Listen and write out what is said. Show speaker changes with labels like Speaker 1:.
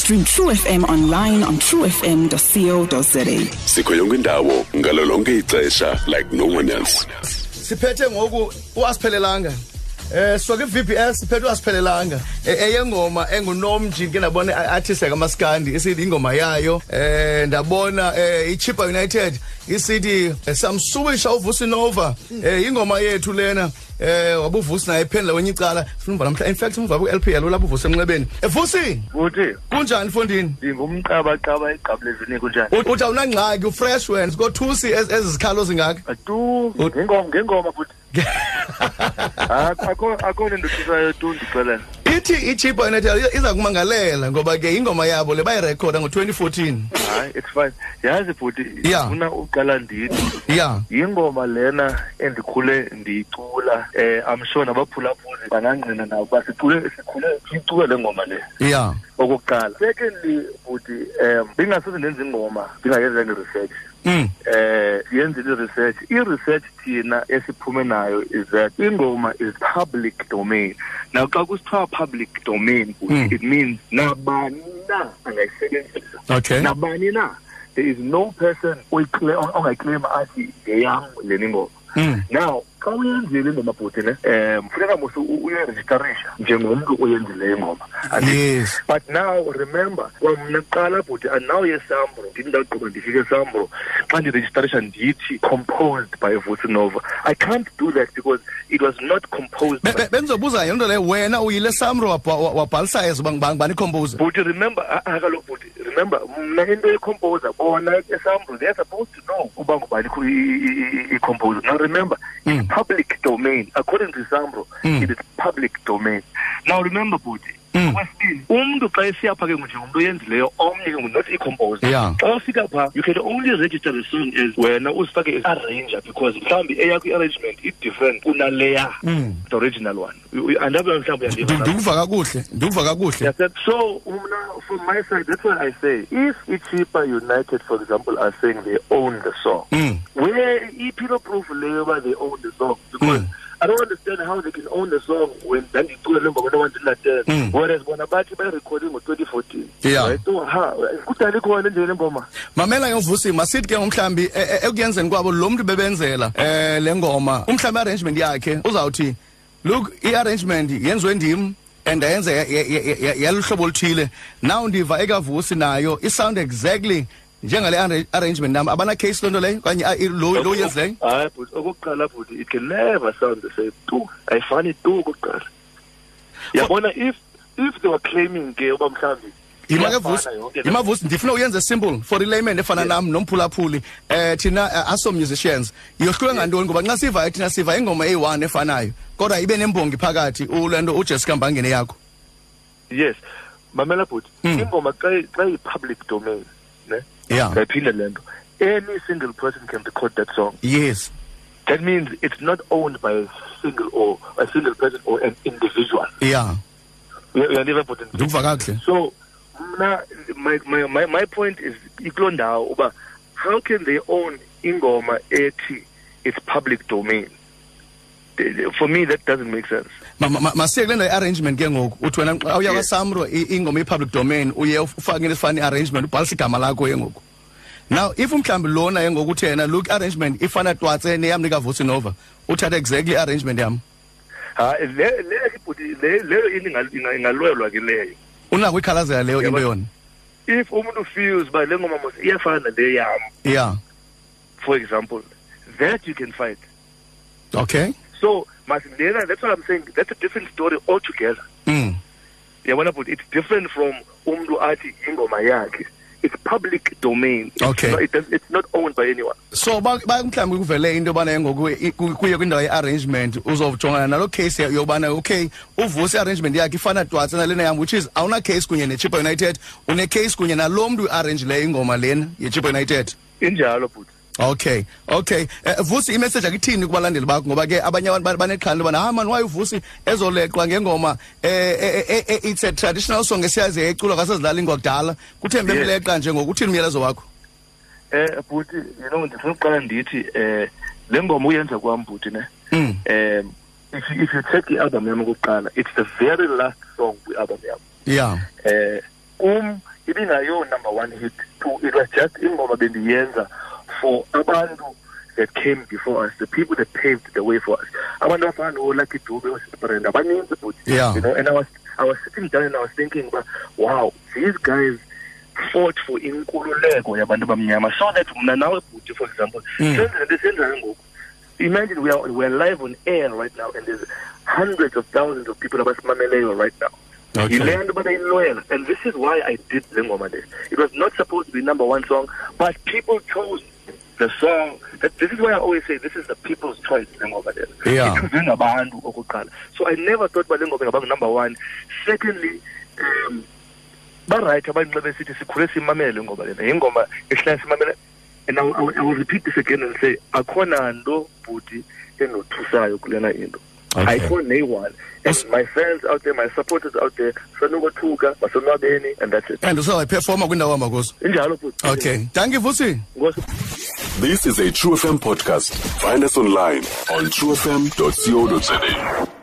Speaker 1: Stream True FM online on truefm.co.za.
Speaker 2: sikho yonke indawo ngalo lonke ixesha like no one else
Speaker 3: siphethe ngoku uasiphelelanga eh soke i-vps siphethe uasiphelelanga E- eyengoma engunomji ke ndabona i-artist yakamaskandi isithi ingoma yayo eh ndabona eh ichipa united isithi eh, samsubisha uvusinova eh ingoma yethu lena eh wabuvusi naye ephendla kwenye icala funa uba namhla in fact umva ku-lpl ulapho uvusi emnxebeni evusi
Speaker 4: kuthi
Speaker 3: kunjani mfondini
Speaker 4: ndingumqabaqaba egqabulezini kunjani
Speaker 3: U- uthi awunangxaki ufresh wena sikothusi ez- ezi zikhalo zingaka
Speaker 4: tu ngengoma ngengoma futhi Ah, akho akho nto ndothisayo tu ndixelela
Speaker 3: ithi ichipa united iza- iza kumangalela ngoba ke ingoma yabo le bayirekhoda ngo-2014
Speaker 4: hayi it's fine yazi bhuti
Speaker 3: Yeah.
Speaker 4: ndifuna uqala ndithi
Speaker 3: ya
Speaker 4: yingoma lena endikhule ndiyicula um i'm sure nabaphulaphuli bangangqina nabo uba sicule sikhule siyicula le ngoma le
Speaker 3: ya
Speaker 4: okokuqala secondly bhuti um ndingasoze ndenza ingoma ndingayenzanga i-research
Speaker 3: Mm.
Speaker 4: eh yenzile i-research i-research thina esiphume nayo is that ingoma is public domain now xa kusithiwa public domain it means nabani na angayisebenzisa
Speaker 3: okay
Speaker 4: nabani na there is no person oyiclaim- ongayiclaim athi ngeyam leni ngoma
Speaker 3: Mm.
Speaker 4: now xa uyenzile ingoma bhuti ne um funeka mos uyerejistarisha njengomntu oyenzileyo ingoma Andithi
Speaker 3: yes
Speaker 4: but now remember kwamna kuqala bhuti andinawo yesambro ndithi ndagqiba ndifike esambro xa ndirejistarisha ndithi composed by vusinova i can't do that because it was not composed
Speaker 3: Be-
Speaker 4: by
Speaker 3: be- bendizobuza yonto leyo wena uyile samro wabha- wa- wabhalisa ezo banikhompoze
Speaker 4: But remember, akalo bhuti, remember, mna into yecomposer, bona esambro, they're supposed to know uba ngubani khu- i- i- i- i-composer. Now remember, it's
Speaker 3: Hmm.
Speaker 4: public domain. According to Sambro, it is public domain. Now remember bhuti,
Speaker 3: Mm.
Speaker 4: kwesibili, umntu xa esiya pha ke ngoku njengomntu oyenzileyo omnye ke ngoku, not i-composer
Speaker 3: Yeah.
Speaker 4: xa ufika pha you can only register the song as wena uzifake as arranger because mhlawumbi eyakho i-arrangement i-different kunaleya the original one You- you- andabi uba mhlawumbi uyandiva na?
Speaker 3: ndikuva kakuhle ndikuva kakuhle
Speaker 4: Yes, sir. So, Umna, from my side, that's what I say. If Ichipa United, for example, are saying they own the song,
Speaker 3: Mm.
Speaker 4: where Ipilo Proof Labour, they own the song. Because I don't understand how they can own the song when then you two remember when I went to Latin.
Speaker 3: Mm.
Speaker 4: Whereas when I bought by recording with 2014.
Speaker 3: Yeah.
Speaker 4: Right? So, ha, kudala ikhona nje le ngoma.
Speaker 3: mamela ke uvusi masithi ke umhlambi e- e- ekuyenzeni kwabo lo mntu bebenzela eh le ngoma umhlambi arrangement yakhe uzawuthi look i-arrangement yenziwe ndim and ayenze ya- ya- ya- ya- yaluhlobo oluthile now ndiva ekavusi nayo isound exactly njengale arra- arrangement nam abana-case loo nto leyo okanye a- i- lo lo yenzileyo
Speaker 4: Hayi, but okokuqala futhi it can never sound the same tu ayifani tu okokuqala yabona if if they were claiming ke uba mhlawumbi
Speaker 3: yimakevusi
Speaker 4: iyafana yonke le-
Speaker 3: yimavusi ndifuna uyenze simple for ilayman efana nam nomphulaphuli um thina eh, aso musicians yohluke ngantoni ngoba nxa sivayo thina siva ingoma eyi-one efanayo kodwa ibe nembongi phakathi ule nto ujessica mbangene yakho
Speaker 4: yes mamela bhuti
Speaker 3: Mm.
Speaker 4: ingoma xa xa iyi-public domain ne
Speaker 3: Yeah.
Speaker 4: ndayiphinde le nto any single person can record that song
Speaker 3: yes
Speaker 4: that means it's not owned by a single or a single person or an individual
Speaker 3: ya
Speaker 4: Uya- uyandiva bhuti
Speaker 3: ndikuva kakuhle
Speaker 4: so mna my, my, my, my point is ikuloo ndawo uba how can they own ingoma ethi it's public domain They- they- for me that doesn't make sense
Speaker 3: Ma- ma- ma- masiye kule nto i-arrangement ke ngoku uthi wena xa uya
Speaker 4: Yes.
Speaker 3: kwasamro i- ingoma i-public domain uye uf- ufake into esifana i-arrangement ubhalisa igama lakho ke ngoku now if mhlawumbi lona ke ngoku uthi yena look i-arrangement ifana twatse neyam likavusi nova uthathe exactly i-arrangement yam
Speaker 4: ha le- le- ibhuti- le- leyo into ingal- inga- ingalwelwa ke leyo
Speaker 3: unako ikhalazela leyo into
Speaker 4: Yabona.
Speaker 3: yona
Speaker 4: if umuntu feels uba le ngoma mos iyafana le yam
Speaker 3: ya
Speaker 4: for example that you can fight
Speaker 3: okay
Speaker 4: so masilena that's what i'm saying that's a different story altogether
Speaker 3: mm.
Speaker 4: yabona but it's different from umntu athi ingoma yakhe it's public domain It's
Speaker 3: Okay.
Speaker 4: not, it does, it's not owned by anyone
Speaker 3: so ba ba- mhlawumbi kuvele into yobana ke ngoku i- ku- kuye kwindawo ye-arrangement uzojongana nalo case ya- yobana okay uvusa i-arrangement yakhe ifana twatsa nalena yam which is awuna case kunye nechipa united une case kunye nalo mntu uarrangileyo ingoma lena yechipa united
Speaker 4: injalo but
Speaker 3: okay okay uh, vusi imessage akithini kubalandeli bakho ngoba ke abanye abantu ba- "Ah, banexhala into yobana ha mani waye uvusi ezoleqwa ngengoma um it's a traditional song esiyazi eculwa kwasezilalini kwakudala kuthembe
Speaker 4: Yes.
Speaker 3: mleqa nje ngoku uthini umyalezo wakho
Speaker 4: eh bhuti you know ndifuna ukuqala ndithi eh le ngoma uyenza kwam bhuti ne
Speaker 3: Mm.
Speaker 4: um if, you- if you check i-album yam okokuqala it's the very last song kwi-album yam
Speaker 3: yeah
Speaker 4: eh um ibingayo number one hit two it was just ingoma bendiyenza for abantu that came before us the people that paved the way for us abantu abafana noLucky Dube oSbrenda abaninzi but
Speaker 3: Yeah.
Speaker 4: you know and I was I was sitting down and I was thinking but wow these guys fought for inkululeko yabantu bamnyama so that mna nawe bhuti for example
Speaker 3: Mm.
Speaker 4: senze le senzayo ngoku imagine we are, we are live on air right now and there's hundreds of thousands of people abasimameleyo right now
Speaker 3: Okay.
Speaker 4: Yile nto banayiloyela and this is why i did le ngoma le it was not supposed to be number one song but people chose the song that, this is why i always say this is the people's choice le ngoma le
Speaker 3: Yeah.
Speaker 4: ichuzwe ngabantu okokuqala so i never thought uba le ngoma ingaba number one secondly um barayithi abanxa besithi sikhule simamele ngoba lena yingoma esihlala simamele and I, will- I, will- I will repeat this again and say akhona nto bhuti enothusayo kulena into
Speaker 3: Okay.
Speaker 4: ayikho neyi-one and my fans out there my supporters out there sanokothuka basonwabeni and that's it
Speaker 3: and usawuyiphefoma kwindawo hamba kuzo
Speaker 4: injalo bhuti
Speaker 3: okay danki vusi
Speaker 4: Ngosi-
Speaker 2: This is a True FM podcast. Find us online on truefm.co.za.